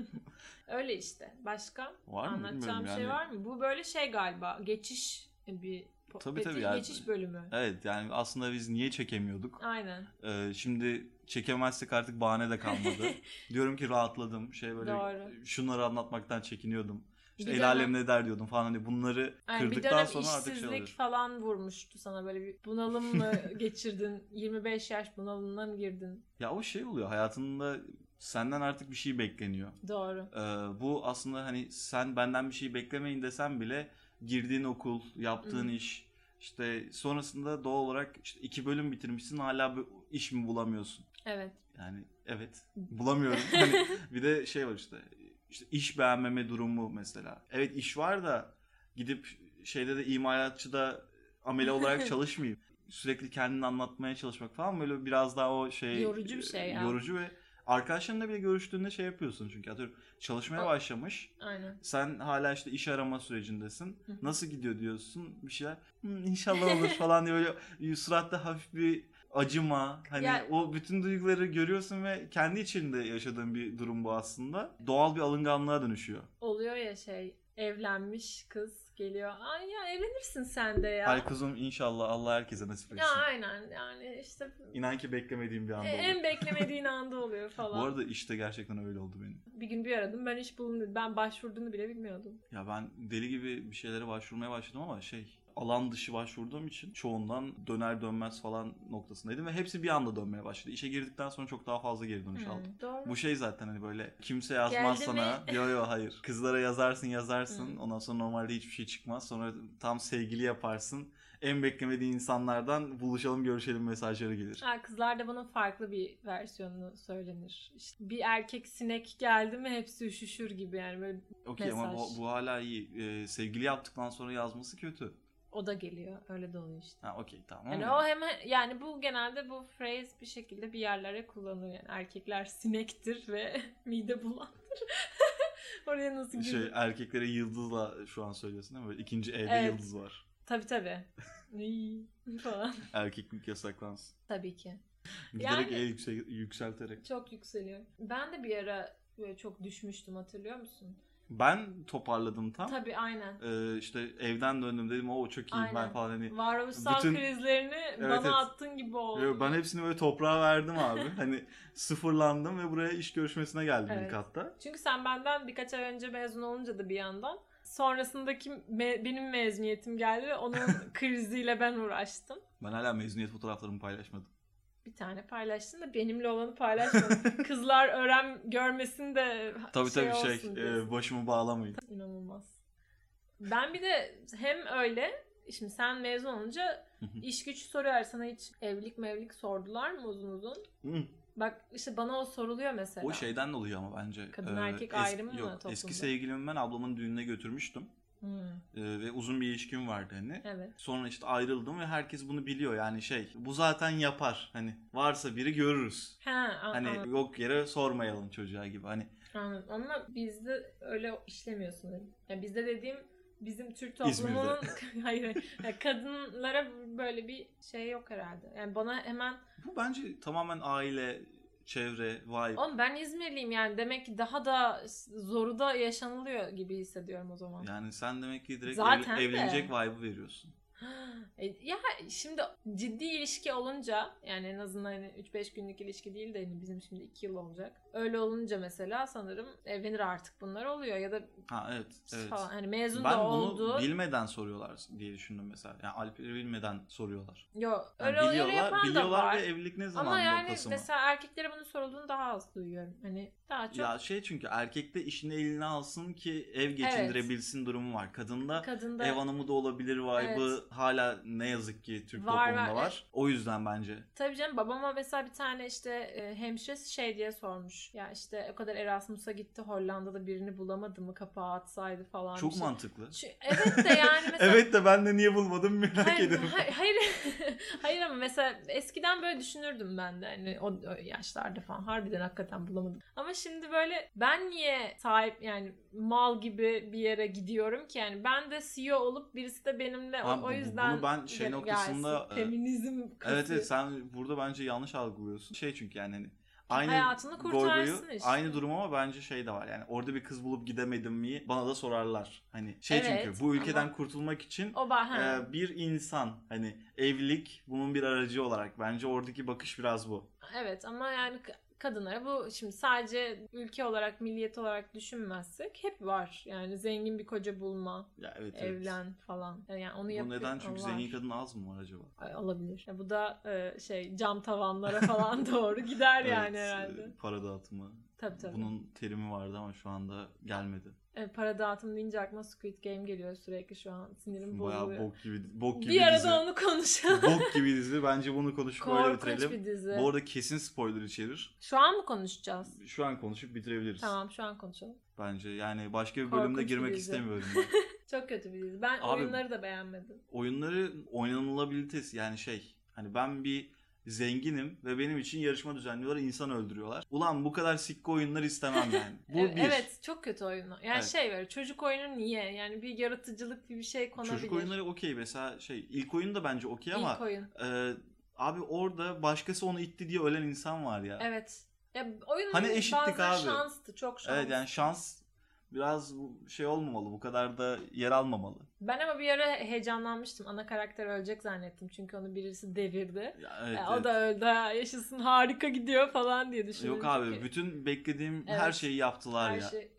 Speaker 2: öyle işte. Başka?
Speaker 1: var mı bilmiyorum
Speaker 2: Anlatacağım bir
Speaker 1: yani.
Speaker 2: şey var mı? Bu böyle şey galiba. Geçiş bir
Speaker 1: Tabii, tabii
Speaker 2: bir
Speaker 1: yani.
Speaker 2: geçiş bölümü.
Speaker 1: Evet yani aslında biz niye çekemiyorduk?
Speaker 2: Aynen.
Speaker 1: Ee, şimdi çekemezsek artık bahane de kalmadı. Diyorum ki rahatladım. Şey böyle
Speaker 2: Doğru.
Speaker 1: şunları anlatmaktan çekiniyordum. İşte
Speaker 2: Bir
Speaker 1: el
Speaker 2: dönem-
Speaker 1: alem ne der diyordum falan hani bunları
Speaker 2: Yani bir
Speaker 1: kırdıktan
Speaker 2: dönem
Speaker 1: sonra artık şey
Speaker 2: işsizlik
Speaker 1: oluyor.
Speaker 2: falan vurmuştu sana böyle bir bunalım mı geçirdin? 25 yaş bunalımına mı girdin?
Speaker 1: Ya o şey oluyor hayatında senden artık bir şey bekleniyor.
Speaker 2: Doğru.
Speaker 1: Ee, bu aslında hani sen benden bir şey beklemeyin desem bile girdiğin okul, yaptığın
Speaker 2: Hı.
Speaker 1: iş işte sonrasında doğal olarak işte iki bölüm bitirmişsin hala bir iş mi bulamıyorsun?
Speaker 2: Evet.
Speaker 1: Yani evet bulamıyorum. Hani bir de şey var işte, işte iş beğenmeme durumu mesela. Evet iş var da gidip şeyde de imalatçıda amele olarak çalışmayayım. Sürekli kendini anlatmaya çalışmak falan böyle biraz daha o şey
Speaker 2: Yorucu bir şey ya.
Speaker 1: Yorucu ve arkadaşlarınla bile görüştüğünde şey yapıyorsun çünkü atıyorum çalışmaya
Speaker 2: O-
Speaker 1: başlamış.
Speaker 2: Aynen.
Speaker 1: Sen hala işte iş arama sürecindesin.
Speaker 2: Hı hı.
Speaker 1: Nasıl gidiyor diyorsun bir şeyler. "Hı, inşallah olur falan diye böyle suratta hafif bir acıma. Hani
Speaker 2: Ya-
Speaker 1: o bütün duyguları görüyorsun ve kendi içinde yaşadığın bir durum bu aslında. Doğal bir alınganlığa dönüşüyor.
Speaker 2: Oluyor ya şey evlenmiş kız geliyor. Ay ya evlenirsin sen de ya.
Speaker 1: Ay kızım inşallah Allah herkese nasip etsin.
Speaker 2: ya aynen yani işte
Speaker 1: İnan ki beklemediğim bir
Speaker 2: e,
Speaker 1: anda oldu.
Speaker 2: en beklemediğin anda oluyor
Speaker 1: Bu
Speaker 2: falan.
Speaker 1: arada işte gerçekten öyle oldu benim.
Speaker 2: Bir gün bir aradım ben hiç bulunmadım. Ben başvurduğunu bile bilmiyordum.
Speaker 1: Ya ben deli gibi bir şeylere başvurmaya başladım ama şey alan dışı başvurduğum için çoğundan döner dönmez falan noktasındaydım ve hepsi bir anda dönmeye başladı. İşe girdikten sonra çok daha fazla geri dönüş aldım.
Speaker 2: Hı, Doğru.
Speaker 1: Bu şey zaten hani böyle kimse yazmaz
Speaker 2: Hmm. Geldi Hmm.
Speaker 1: sana. Yo yo hayır. Kızlara yazarsın yazarsın.
Speaker 2: Hı.
Speaker 1: Ondan sonra normalde hiçbir şey çıkmaz. Sonra tam sevgili yaparsın. En beklemediğin insanlardan buluşalım görüşelim mesajları gelir.
Speaker 2: Ha, kızlarda bunun farklı bir versiyonunu söylenir. İşte bir erkek sinek geldi mi hepsi üşüşür gibi yani böyle
Speaker 1: Okey ama bu,
Speaker 2: Mesaj.
Speaker 1: bu hala iyi. Ee, sevgili yaptıktan sonra yazması kötü.
Speaker 2: o da geliyor. Öyle de oluyor işte.
Speaker 1: Ha okey tamam.
Speaker 2: Yani o hem yani bu genelde bu phrase bir şekilde bir yerlere kullanılıyor. Yani erkekler sinektir ve mide bulandır. Oraya nasıl girdi?
Speaker 1: şey erkeklere yıldızla şu an söylüyorsun değil mi? Böyle ikinci E'de
Speaker 2: Evet.
Speaker 1: yıldız var.
Speaker 2: Tabii tabii. Iy, falan.
Speaker 1: Erkeklik yasaklansın.
Speaker 2: Tabii ki.
Speaker 1: Giderek
Speaker 2: Yani-
Speaker 1: E yüksel- yükselterek.
Speaker 2: Çok yükseliyor. Ben de bir ara böyle çok düşmüştüm hatırlıyor musun?
Speaker 1: ben toparladım tam.
Speaker 2: Tabii aynen.
Speaker 1: Ee, işte evden döndüm dedim o çok iyiyim ben
Speaker 2: Aynen.
Speaker 1: falan hani.
Speaker 2: Varoluşsal
Speaker 1: Bütün-
Speaker 2: krizlerini bana
Speaker 1: evet.
Speaker 2: attın gibi oldu.
Speaker 1: Yo, Ben hepsini böyle toprağa verdim abi. hani sıfırlandım ve buraya iş görüşmesine geldim
Speaker 2: Evet.
Speaker 1: ilk hatta.
Speaker 2: Çünkü sen benden birkaç ay önce mezun olunca da bir yandan sonrasındaki me- benim mezuniyetim geldi ve onun kriziyle ben uğraştım.
Speaker 1: Ben hala mezuniyet fotoğraflarımı paylaşmadım.
Speaker 2: Şey Bir tane paylaştın da benimle olanı paylaşmadın. Kızlar öğren görmesin de
Speaker 1: Tabii
Speaker 2: şey
Speaker 1: tabii şey
Speaker 2: olsun
Speaker 1: e,
Speaker 2: diyorsun.
Speaker 1: başımı bağlamayın.
Speaker 2: İnanılmaz. Ben bir de hem öyle şimdi sen mezun olunca
Speaker 1: Hı hı.
Speaker 2: iş güç soruyor sana hiç evlilik mevlilik sordular mı uzun uzun?
Speaker 1: Hı.
Speaker 2: Bak işte bana o soruluyor mesela.
Speaker 1: O şey. şeyden dolayı ama bence.
Speaker 2: Kadın
Speaker 1: e,
Speaker 2: erkek
Speaker 1: es-
Speaker 2: ayrımı mı
Speaker 1: yok,
Speaker 2: toplumda?
Speaker 1: Eski sevgilimi ben ablamın düğününe götürmüştüm.
Speaker 2: Hmm,
Speaker 1: E, ve uzun bir ilişkim vardı hani.
Speaker 2: evet.
Speaker 1: Sonra işte ayrıldım ve herkes bunu biliyor yani şey. Bu zaten yapar. Hani varsa biri görürüz.
Speaker 2: He, an-
Speaker 1: Hani
Speaker 2: an-
Speaker 1: yok yere sormayalım çocuğa gibi. Hani
Speaker 2: anladım. Ama bizde öyle işlemiyor sanırım. Yani bizde dediğim bizim Türk toplumunun hayır, hayır. Yani kadınlara böyle bir şey yok herhalde. Yani bana hemen
Speaker 1: bu bence tamamen aile, çevre, vibe.
Speaker 2: Oğlum ben İzmirliyim yani demek ki daha da zoru da yaşanılıyor gibi hissediyorum o zaman.
Speaker 1: Yani sen demek ki direkt
Speaker 2: Zaten
Speaker 1: evli-
Speaker 2: de.
Speaker 1: evlenecek vibe'ı veriyorsun.
Speaker 2: E, ya şimdi ciddi ilişki olunca yani en azından hani 3-5 günlük ilişki değil de hani bizim şimdi 2 yıl olacak. Öyle olunca mesela sanırım evlenir artık bunlar oluyor ya da
Speaker 1: Ha evet. evet.
Speaker 2: falan hani mezun
Speaker 1: Ben
Speaker 2: da
Speaker 1: bunu
Speaker 2: oldu.
Speaker 1: bilmeden soruyorlar diye düşündüm mesela. Yani Alper'i bilmeden soruyorlar.
Speaker 2: Yok
Speaker 1: Yani
Speaker 2: öyle öyle
Speaker 1: biliyorlar,
Speaker 2: yapan da
Speaker 1: biliyorlar
Speaker 2: var.
Speaker 1: ve evlilik ne zaman
Speaker 2: Ama yani
Speaker 1: noktası mı?
Speaker 2: mesela erkeklere bunun sorulduğunu daha az duyuyorum. Hani daha çok
Speaker 1: Ya şey çünkü erkekte işini eline alsın ki ev geçindirebilsin durumu var. Kadında
Speaker 2: kadında
Speaker 1: ev hanımı da olabilir vibe'ı hala ne yazık ki Türk
Speaker 2: Var,
Speaker 1: toplumunda
Speaker 2: var.
Speaker 1: var. O yüzden bence.
Speaker 2: Tabii canım babama mesela bir tane işte e, hemşiresi şey diye sormuş. Ya işte o kadar Erasmus'a gitti Hollanda'da birini bulamadı mı kapağı atsaydı falan.
Speaker 1: Çok
Speaker 2: bir şey.
Speaker 1: mantıklı.
Speaker 2: Şu- evet de yani mesela.
Speaker 1: Evet de ben de niye bulmadım merak
Speaker 2: Hayır,
Speaker 1: ediyorum.
Speaker 2: hayır, hayır, hayır ama mesela eskiden böyle düşünürdüm ben de hani o, o yaşlarda falan harbiden hakikaten bulamadım. Ama şimdi böyle ben niye sahip yani mal gibi bir yere gidiyorum ki yani ben de CEO olup birisi de benimle
Speaker 1: Ha,
Speaker 2: o,
Speaker 1: bu-
Speaker 2: o
Speaker 1: bu-
Speaker 2: yüzden
Speaker 1: bunu ben şey
Speaker 2: gel-
Speaker 1: noktasında,
Speaker 2: gelsin.
Speaker 1: e,
Speaker 2: feminizm
Speaker 1: Evet
Speaker 2: kası-
Speaker 1: evet sen burada bence yanlış algılıyorsun. Şey çünkü yani hani aynı
Speaker 2: hayatını kurtarsın
Speaker 1: gorguyu,
Speaker 2: işte.
Speaker 1: aynı durum ama bence şey de var. Yani orada bir kız bulup gidemedim mi bana da sorarlar. Hani şey
Speaker 2: Evet,
Speaker 1: çünkü bu ülkeden
Speaker 2: ama-
Speaker 1: kurtulmak için
Speaker 2: O bah ha.
Speaker 1: e, bir insan hani evlilik bunun bir aracı olarak bence oradaki bakış biraz bu.
Speaker 2: Evet ama yani k- kadınlara bu şimdi sadece ülke olarak milliyet olarak düşünmezsek hep var. Yani zengin bir koca bulma,
Speaker 1: Ya evet evet.
Speaker 2: evlen falan. E, Yani onu
Speaker 1: Bu
Speaker 2: yapıyor.
Speaker 1: neden? Çünkü
Speaker 2: var.
Speaker 1: zengin kadın az mı var acaba?
Speaker 2: Ay, olabilir. Ya bu da e, şey cam tavanlara falan doğru gider yani
Speaker 1: Evet,
Speaker 2: herhalde.
Speaker 1: e, Para dağıtımı.
Speaker 2: Tabii tabii.
Speaker 1: Bunun terimi vardı ama şu anda gelmedi.
Speaker 2: E, para dağıtım deyince aklıma Squid Game geliyor sürekli şu an. Sinirim
Speaker 1: Bayağı
Speaker 2: bozuluyor.
Speaker 1: bok gibi bok gibi
Speaker 2: bir arada
Speaker 1: dizi.
Speaker 2: onu konuşalım.
Speaker 1: bok gibi dizi. Bence bunu konuşup böyle
Speaker 2: Korkunç
Speaker 1: bitirelim.
Speaker 2: bir dizi.
Speaker 1: Bu arada kesin spoiler içerir.
Speaker 2: Şu an mı konuşacağız?
Speaker 1: Şu an konuşup bitirebiliriz.
Speaker 2: Tamam şu an konuşalım.
Speaker 1: Bence yani başka bir
Speaker 2: Korkunç
Speaker 1: bölümde
Speaker 2: bir
Speaker 1: girmek
Speaker 2: dizi.
Speaker 1: istemiyorum. ben.
Speaker 2: Çok kötü bir dizi. Ben
Speaker 1: Abi-
Speaker 2: oyunları da beğenmedim.
Speaker 1: Oyunların oynanılabilitesi yani şey hani ben bir zenginim ve benim için yarışma düzenliyorlar insan öldürüyorlar. Ulan bu kadar sikko oyunlar istemem yani. Bu
Speaker 2: Evet,
Speaker 1: bir.
Speaker 2: E, Evet çok kötü oyunu. Yani
Speaker 1: Evet.
Speaker 2: şey böyle çocuk oyunu niye? Yani bir yaratıcılık bir bir şey konabilir.
Speaker 1: Çocuk oyunları okey mesela şey ilk oyun da bence okey
Speaker 2: İlk
Speaker 1: ama
Speaker 2: oyun.
Speaker 1: e, abi orada başkası onu itti diye ölen insan var ya.
Speaker 2: Evet. Ya oyun
Speaker 1: Hani
Speaker 2: hani
Speaker 1: eşitlik
Speaker 2: bazen
Speaker 1: abi.
Speaker 2: şanstı. Çok şans.
Speaker 1: Evet yani şans biraz bu- şey olmamalı bu kadar da yer almamalı.
Speaker 2: Ben ama bir ara heyecanlanmıştım. Ana karakter ölecek zannettim. Çünkü onu birisi devirdi.
Speaker 1: Ya, evet, evet.
Speaker 2: Ya, E, O da öldü ha, yaşasın harika gidiyor falan diye düşündüm.
Speaker 1: Yok abi
Speaker 2: Çünkü
Speaker 1: bütün beklediğim
Speaker 2: Evet.
Speaker 1: her şeyi yaptılar
Speaker 2: her
Speaker 1: ya.
Speaker 2: şey.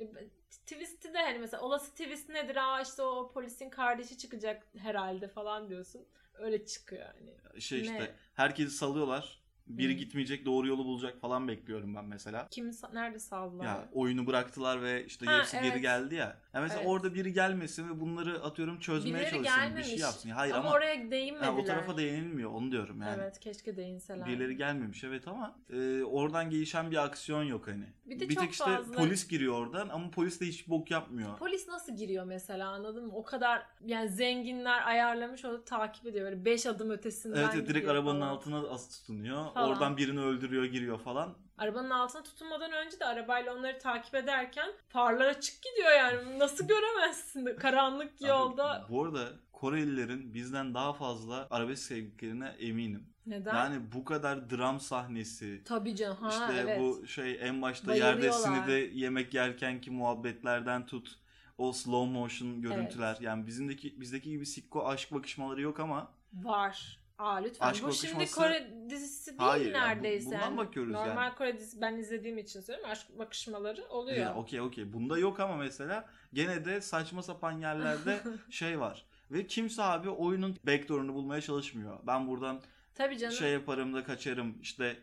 Speaker 2: Twist'i de hani mesela olası twist nedir? Aa işte o polisin kardeşi çıkacak herhalde falan diyorsun. Öyle çıkıyor yani.
Speaker 1: Şey işte
Speaker 2: Ne?
Speaker 1: herkesi salıyorlar. Biri
Speaker 2: Hı.
Speaker 1: gitmeyecek doğru yolu bulacak falan bekliyorum ben mesela.
Speaker 2: Kimi sa- nerede sallar?
Speaker 1: Ya oyunu bıraktılar ve işte
Speaker 2: Ha,
Speaker 1: hepsi geri
Speaker 2: evet.
Speaker 1: geldi ya. Ya mesela
Speaker 2: Evet.
Speaker 1: orada biri gelmesin ve bunları atıyorum çözmeye
Speaker 2: Birileri
Speaker 1: çalışsın, bir şey
Speaker 2: gelmemiş.
Speaker 1: yapsın. Hayır
Speaker 2: ama,
Speaker 1: ama,
Speaker 2: oraya değinmediler.
Speaker 1: ha, o tarafa değinilmiyor onu diyorum yani.
Speaker 2: Evet keşke değinseler.
Speaker 1: Birileri gelmemiş evet ama e, oradan gelişen bir aksiyon yok hani.
Speaker 2: Bir de
Speaker 1: bir
Speaker 2: çok
Speaker 1: tek işte
Speaker 2: fazla-
Speaker 1: polis giriyor oradan ama polis de hiç bok yapmıyor.
Speaker 2: Polis nasıl giriyor mesela anladın mı? O kadar yani zenginler ayarlamış onu takip ediyor. Böyle 5 adım ötesinden
Speaker 1: Evet evet, direkt
Speaker 2: gidiyor
Speaker 1: arabanın
Speaker 2: falan.
Speaker 1: altına as tutunuyor.
Speaker 2: Falan.
Speaker 1: Oradan birini öldürüyor giriyor falan.
Speaker 2: Arabanın altına tutunmadan önce de arabayla onları takip ederken farlar açık gidiyor yani. Nasıl göremezsin? Karanlık
Speaker 1: Abi,
Speaker 2: yolda.
Speaker 1: bu arada Korelilerin bizden daha fazla arabesk sevdiklerine eminim.
Speaker 2: Neden?
Speaker 1: Yani bu kadar dram sahnesi,
Speaker 2: Tabii canım. Ha,
Speaker 1: işte
Speaker 2: evet.
Speaker 1: bu şey en başta
Speaker 2: Bayılıyorlar.
Speaker 1: yerdesini de yemek yerken ki muhabbetlerden tut o slow motion görüntüler. Yani bizimdeki bizdeki gibi sikko aşk bakışmaları yok ama
Speaker 2: Var. Aa lütfen.
Speaker 1: Aşk
Speaker 2: bu şimdi
Speaker 1: Bakışması-
Speaker 2: Kore dizisi değil
Speaker 1: Hayır ya, bu-
Speaker 2: neredeyse.
Speaker 1: bundan
Speaker 2: yani.
Speaker 1: bakıyoruz
Speaker 2: Normal
Speaker 1: yani.
Speaker 2: Kore dizisi ben izlediğim için söylüyorum. Aşk bakışmaları oluyor.
Speaker 1: Ya, okey okey. Bunda yok ama mesela gene de saçma sapan yerlerde şey var. Ve kimse abi oyunun backdoor'unu bulmaya çalışmıyor. Ben buradan
Speaker 2: Tabii canım.
Speaker 1: şey yaparım da kaçarım. İşte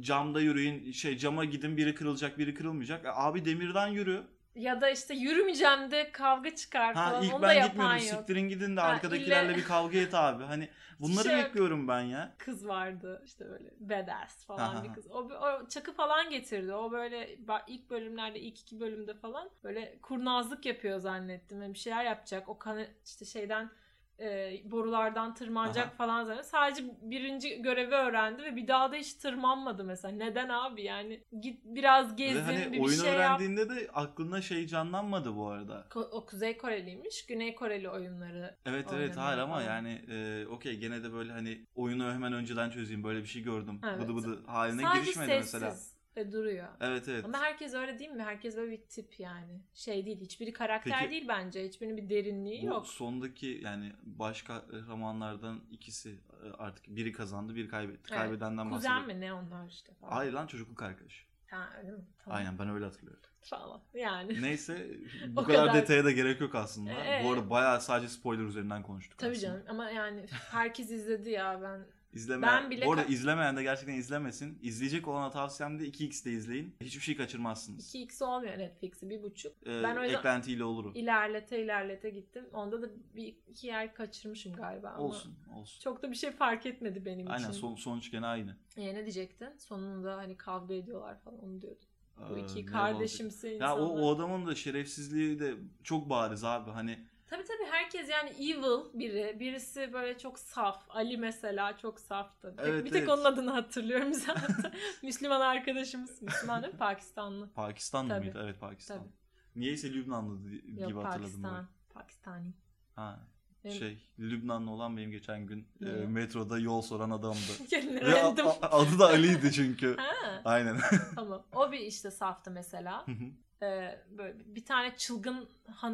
Speaker 1: camda yürüyün, şey cama gidin biri kırılacak biri kırılmayacak. E, abi demirden yürü.
Speaker 2: Ya da işte yürümeyeceğim de kavga çıkar
Speaker 1: Ha
Speaker 2: falan.
Speaker 1: ilk
Speaker 2: Onu da
Speaker 1: ben
Speaker 2: yapan
Speaker 1: gitmiyorum.
Speaker 2: yok.
Speaker 1: Siktirin gidin de
Speaker 2: Ha,
Speaker 1: arkadakilerle
Speaker 2: ille-
Speaker 1: bir kavga et abi. Hani bunları
Speaker 2: Şey yok.
Speaker 1: bekliyorum ben ya.
Speaker 2: Kız vardı işte böyle badass falan
Speaker 1: Ha, ha,
Speaker 2: bir
Speaker 1: ha.
Speaker 2: kız. O, o çakı falan getirdi. O böyle ba- ilk bölümlerde ilk iki bölümde falan böyle kurnazlık yapıyor zannettim. Yani bir şeyler yapacak. O kanı işte şeyden e, borulardan tırmanacak
Speaker 1: Aha.
Speaker 2: falan zannettim. Sadece birinci görevi öğrendi ve bir daha da hiç tırmanmadı mesela. Neden abi yani git biraz gezin
Speaker 1: Ve hani
Speaker 2: bir, bir
Speaker 1: oyunu
Speaker 2: şey yap.
Speaker 1: öğrendiğinde de aklına şey canlanmadı bu arada.
Speaker 2: Ko- o Kuzey Koreliymiş. Güney Koreli oyunları
Speaker 1: Evet evet
Speaker 2: Oynamıyor
Speaker 1: hayır ama
Speaker 2: falan.
Speaker 1: yani e, okey gene de böyle hani oyunu hemen önceden çözeyim böyle bir şey gördüm.
Speaker 2: Evet.
Speaker 1: Bıdı bıdı haline
Speaker 2: Sadece
Speaker 1: girişmedi
Speaker 2: sessiz
Speaker 1: mesela.
Speaker 2: ve duruyor.
Speaker 1: Evet evet.
Speaker 2: Ama herkes öyle değil mi? Herkes böyle bir tip yani. Şey değil. Hiçbiri karakter
Speaker 1: Peki-
Speaker 2: değil bence. Hiçbirinin bir derinliği
Speaker 1: Bu
Speaker 2: yok.
Speaker 1: sondaki yani başka kahramanlardan ikisi e, artık biri kazandı biri kaybetti.
Speaker 2: Evet.
Speaker 1: Kaybedenden
Speaker 2: Kuzen
Speaker 1: bahsediyorum.
Speaker 2: mi ne onlar işte falan.
Speaker 1: Hayır lan çocukluk arkadaş.
Speaker 2: Ha, öyle mi? Tamam.
Speaker 1: Aynen ben öyle hatırlıyorum.
Speaker 2: Falan. Yani.
Speaker 1: Neyse bu
Speaker 2: O
Speaker 1: kadar,
Speaker 2: kadar.
Speaker 1: detaya da gerek yok aslında.
Speaker 2: Ee,
Speaker 1: Bu arada bayağı sadece spoiler üzerinden konuştuk
Speaker 2: Tabii
Speaker 1: aslında.
Speaker 2: canım ama yani herkes izledi ya ben.
Speaker 1: İzlemeyen,
Speaker 2: Ben bile
Speaker 1: bu arada
Speaker 2: ka-
Speaker 1: izlemeyen de gerçekten izlemesin. İzleyecek olana tavsem de 2x'de izleyin. Hiçbir şey kaçırmazsınız.
Speaker 2: 2x olmuyor Netflix'i bir buçuk.
Speaker 1: Ee,
Speaker 2: Ben o yüzden-
Speaker 1: eklentiyle olur. o.
Speaker 2: İlerlete ilerlete gittim. Onda da bir iki yer kaçırmışım galiba ama.
Speaker 1: Olsun olsun.
Speaker 2: Çok da bir şey fark etmedi benim
Speaker 1: Aynen
Speaker 2: için.
Speaker 1: son, sonuç gene aynı.
Speaker 2: Ee, ne diyecektin? Sonunda hani kavga ediyorlar falan onu diyordun. Bu
Speaker 1: Ee,
Speaker 2: iki
Speaker 1: ne olacak?
Speaker 2: kardeşimsi
Speaker 1: Ya
Speaker 2: insanlar.
Speaker 1: o, o adamın da şerefsizliği de çok bariz abi. Hani
Speaker 2: Tabii tabii herkes yani evil biri. Birisi böyle çok saf. Ali mesela çok saftı. Bir tek-
Speaker 1: Evet,
Speaker 2: bir tek
Speaker 1: evet.
Speaker 2: onun adını hatırlıyorum zaten. Müslüman arkadaşımız. Müslüman değil mi? Pakistanlı.
Speaker 1: Pakistanlı
Speaker 2: Tabii.
Speaker 1: mıydı? Evet Pakistan.
Speaker 2: Tabii.
Speaker 1: Niyeyse Lübnanlı di- gibi
Speaker 2: Yok
Speaker 1: hatırladım
Speaker 2: Pakistan.
Speaker 1: ben.
Speaker 2: Pakistani.
Speaker 1: Ha,
Speaker 2: Benim-
Speaker 1: şey Lübnanlı olan benim geçen gün
Speaker 2: Ne?
Speaker 1: e, metroda yol soran adamdı.
Speaker 2: Kendini
Speaker 1: Ve a-
Speaker 2: öğrendim.
Speaker 1: a- adı da Ali'ydi çünkü.
Speaker 2: Ha,
Speaker 1: Aynen.
Speaker 2: tamam. O bir işte saftı mesela. Ee, böyle bir tane çılgın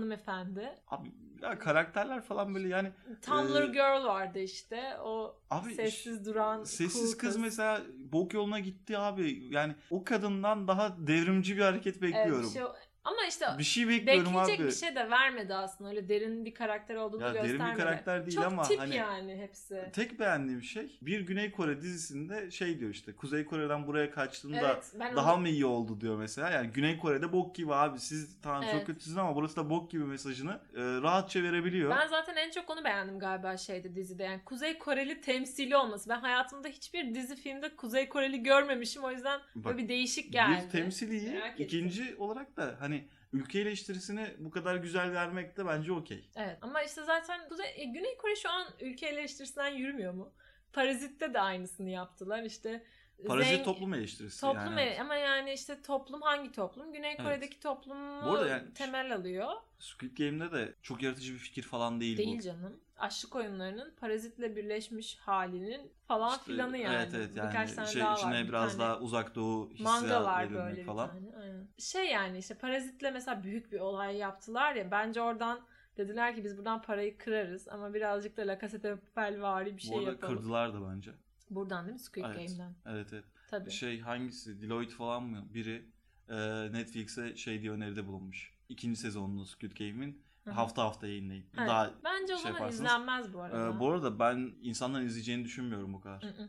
Speaker 2: hanımefendi.
Speaker 1: abi ya karakterler falan böyle yani
Speaker 2: Tumblr
Speaker 1: Ee,
Speaker 2: girl vardı işte. O
Speaker 1: abi
Speaker 2: sessiz duran
Speaker 1: Sessiz
Speaker 2: cool
Speaker 1: kız mesela bok yoluna gitti abi. Yani o kadından daha devrimci bir hareket
Speaker 2: Evet, bir
Speaker 1: bekliyorum.
Speaker 2: şey- ama işte
Speaker 1: bir, şey, bekliyorum
Speaker 2: Bekleyecek
Speaker 1: abi.
Speaker 2: bir şey de vermedi aslında. Öyle derin bir karakter olduğunu
Speaker 1: ya
Speaker 2: göstermedi.
Speaker 1: derin bir karakter değil
Speaker 2: Çok
Speaker 1: ama
Speaker 2: tip
Speaker 1: hani
Speaker 2: yani hepsi.
Speaker 1: tek beğendiğim şey bir Güney Kore dizisinde şey diyor işte Kuzey Kore'den buraya kaçtığında
Speaker 2: Evet, ben
Speaker 1: daha
Speaker 2: onu-
Speaker 1: mı iyi oldu diyor mesela. Yani Güney Kore'de bok gibi abi siz tamam
Speaker 2: Evet.
Speaker 1: çok kötüsünüz ama burası da bok gibi mesajını e, rahatça verebiliyor.
Speaker 2: Ben zaten en çok onu beğendim galiba şeyde dizide. Yani Kuzey Koreli temsili olması. Ben hayatımda hiçbir dizi filmde Kuzey Koreli görmemişim. O yüzden
Speaker 1: Bak,
Speaker 2: böyle bir değişik geldi.
Speaker 1: Bir temsil iyi.
Speaker 2: Merak ettim.
Speaker 1: İkinci olarak da hani ülke eleştirisini bu kadar güzel vermek de bence okey.
Speaker 2: Evet ama işte zaten Kuzey, e, Güney Kore şu an ülke eleştirisinden yürümüyor mu? Parazit'te de aynısını yaptılar. İşte
Speaker 1: Parazit
Speaker 2: zeng-
Speaker 1: toplum eleştirisi
Speaker 2: Toplum
Speaker 1: yani.
Speaker 2: ele- ama yani işte toplum hangi toplum? Güney
Speaker 1: Evet.
Speaker 2: Kore'deki
Speaker 1: Bu
Speaker 2: toplumu
Speaker 1: arada yani-
Speaker 2: temel alıyor.
Speaker 1: Squid Game'de de çok yaratıcı bir fikir falan değil,
Speaker 2: Değil
Speaker 1: bu.
Speaker 2: canım. Aşık oyunlarının parazitle birleşmiş halinin falan
Speaker 1: İşte,
Speaker 2: filanı yani.
Speaker 1: Evet evet yani
Speaker 2: Birkaç tane
Speaker 1: şey
Speaker 2: daha
Speaker 1: içine
Speaker 2: var. bir
Speaker 1: biraz
Speaker 2: tane.
Speaker 1: daha uzak doğu
Speaker 2: manga
Speaker 1: hissiyatı
Speaker 2: var böyle
Speaker 1: verilmek
Speaker 2: bir
Speaker 1: falan.
Speaker 2: tane. aynen. Şey yani işte parazitle mesela büyük bir olay yaptılar ya. Bence oradan dediler ki biz buradan parayı kırarız ama birazcık da La Casa de Papel vari bir
Speaker 1: bu
Speaker 2: şey
Speaker 1: arada
Speaker 2: yapalım.
Speaker 1: kırdılar da bence.
Speaker 2: Buradan değil mi? Squid
Speaker 1: Evet.
Speaker 2: Game'den.
Speaker 1: Evet evet.
Speaker 2: Tabii.
Speaker 1: Şey hangisi Deloitte falan mı biri e, Netflix'e şey diye öneride bulunmuş. İkinci sezonunu Squid Game'in
Speaker 2: Hı hı.
Speaker 1: hafta hafta yayınlayın.
Speaker 2: Evet.
Speaker 1: Daha
Speaker 2: Bence o
Speaker 1: şey
Speaker 2: zaman
Speaker 1: yaparsanız-
Speaker 2: izlenmez bu arada.
Speaker 1: Ee, bu arada ben insanların izleyeceğini düşünmüyorum bu kadar.
Speaker 2: Hı hı.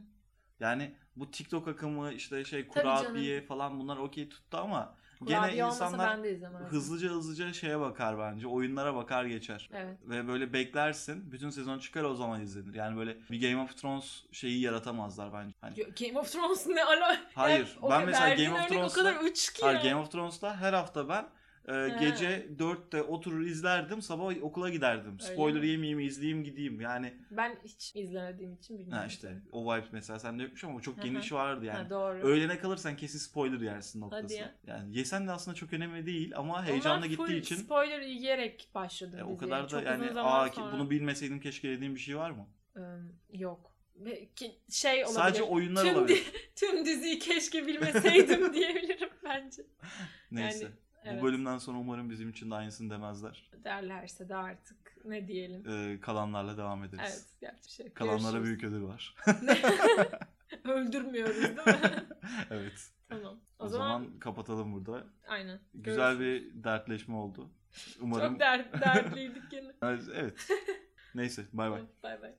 Speaker 1: Yani bu TikTok akımı işte şey
Speaker 2: Tabii canım.
Speaker 1: kurabiye falan bunlar okey tuttu ama
Speaker 2: Kurabiye
Speaker 1: gene
Speaker 2: olmasa
Speaker 1: insanlar
Speaker 2: ben de izlemezdim.
Speaker 1: hızlıca hızlıca şeye bakar bence. Oyunlara bakar geçer.
Speaker 2: Evet.
Speaker 1: Ve böyle beklersin. Bütün sezon çıkar o zaman izlenir. Yani böyle bir Game of Thrones şeyi yaratamazlar bence. Hani,
Speaker 2: Game of Thrones ne ala?
Speaker 1: Hayır,
Speaker 2: o-
Speaker 1: ben mesela
Speaker 2: verdiğin
Speaker 1: Game of
Speaker 2: örnek O
Speaker 1: Thrones'la-
Speaker 2: kadar uç ki.
Speaker 1: Hayır,
Speaker 2: ya.
Speaker 1: Game of Thrones'ta her hafta ben Ee, gece 4'te oturur izlerdim. Sabah okula giderdim.
Speaker 2: Öyle
Speaker 1: Spoiler
Speaker 2: mi?
Speaker 1: yemeyeyim, izleyeyim, gideyim. Yani
Speaker 2: Ben hiç izlemediğim için bilmiyorum.
Speaker 1: ha işte o vibe mesela sende yokmuş ama çok
Speaker 2: Hı hı.
Speaker 1: geniş vardı
Speaker 2: Ha,
Speaker 1: yani.
Speaker 2: doğru.
Speaker 1: Öğlene kalırsan kesin spoiler yersin noktası.
Speaker 2: ya.
Speaker 1: Yani yesen de aslında çok önemli değil ama
Speaker 2: Onlar
Speaker 1: heyecanla
Speaker 2: full
Speaker 1: gittiği için
Speaker 2: spoiler yiyerek başladım
Speaker 1: e,
Speaker 2: diziye.
Speaker 1: o kadar da
Speaker 2: Çok uzun
Speaker 1: yani
Speaker 2: zaman
Speaker 1: aa ki-
Speaker 2: sonra-
Speaker 1: bunu bilmeseydim keşke dediğim bir şey var mı?
Speaker 2: Im, yok. Ve ki- Şey olabilir.
Speaker 1: Sadece oyunlar
Speaker 2: tüm,
Speaker 1: olabilir.
Speaker 2: di- tüm diziyi keşke bilmeseydim diyebilirim bence.
Speaker 1: Neyse.
Speaker 2: yani, evet.
Speaker 1: Bu bölümden sonra umarım bizim için de aynısını demezler.
Speaker 2: Derlerse de artık ne diyelim.
Speaker 1: Ee, kalanlarla devam ederiz.
Speaker 2: Evet, yapacak bir şey. yok.
Speaker 1: Kalanlara
Speaker 2: Görüşürüz.
Speaker 1: büyük ödül var.
Speaker 2: Öldürmüyoruz değil mi?
Speaker 1: evet.
Speaker 2: tamam. O,
Speaker 1: O, zaman...
Speaker 2: zaman,
Speaker 1: kapatalım burada.
Speaker 2: aynen.
Speaker 1: Güzel
Speaker 2: Görüşürüz.
Speaker 1: bir dertleşme oldu. Umarım.
Speaker 2: Çok dert, dertliydik yine.
Speaker 1: Evet. Neyse bay bay.
Speaker 2: Bay bay.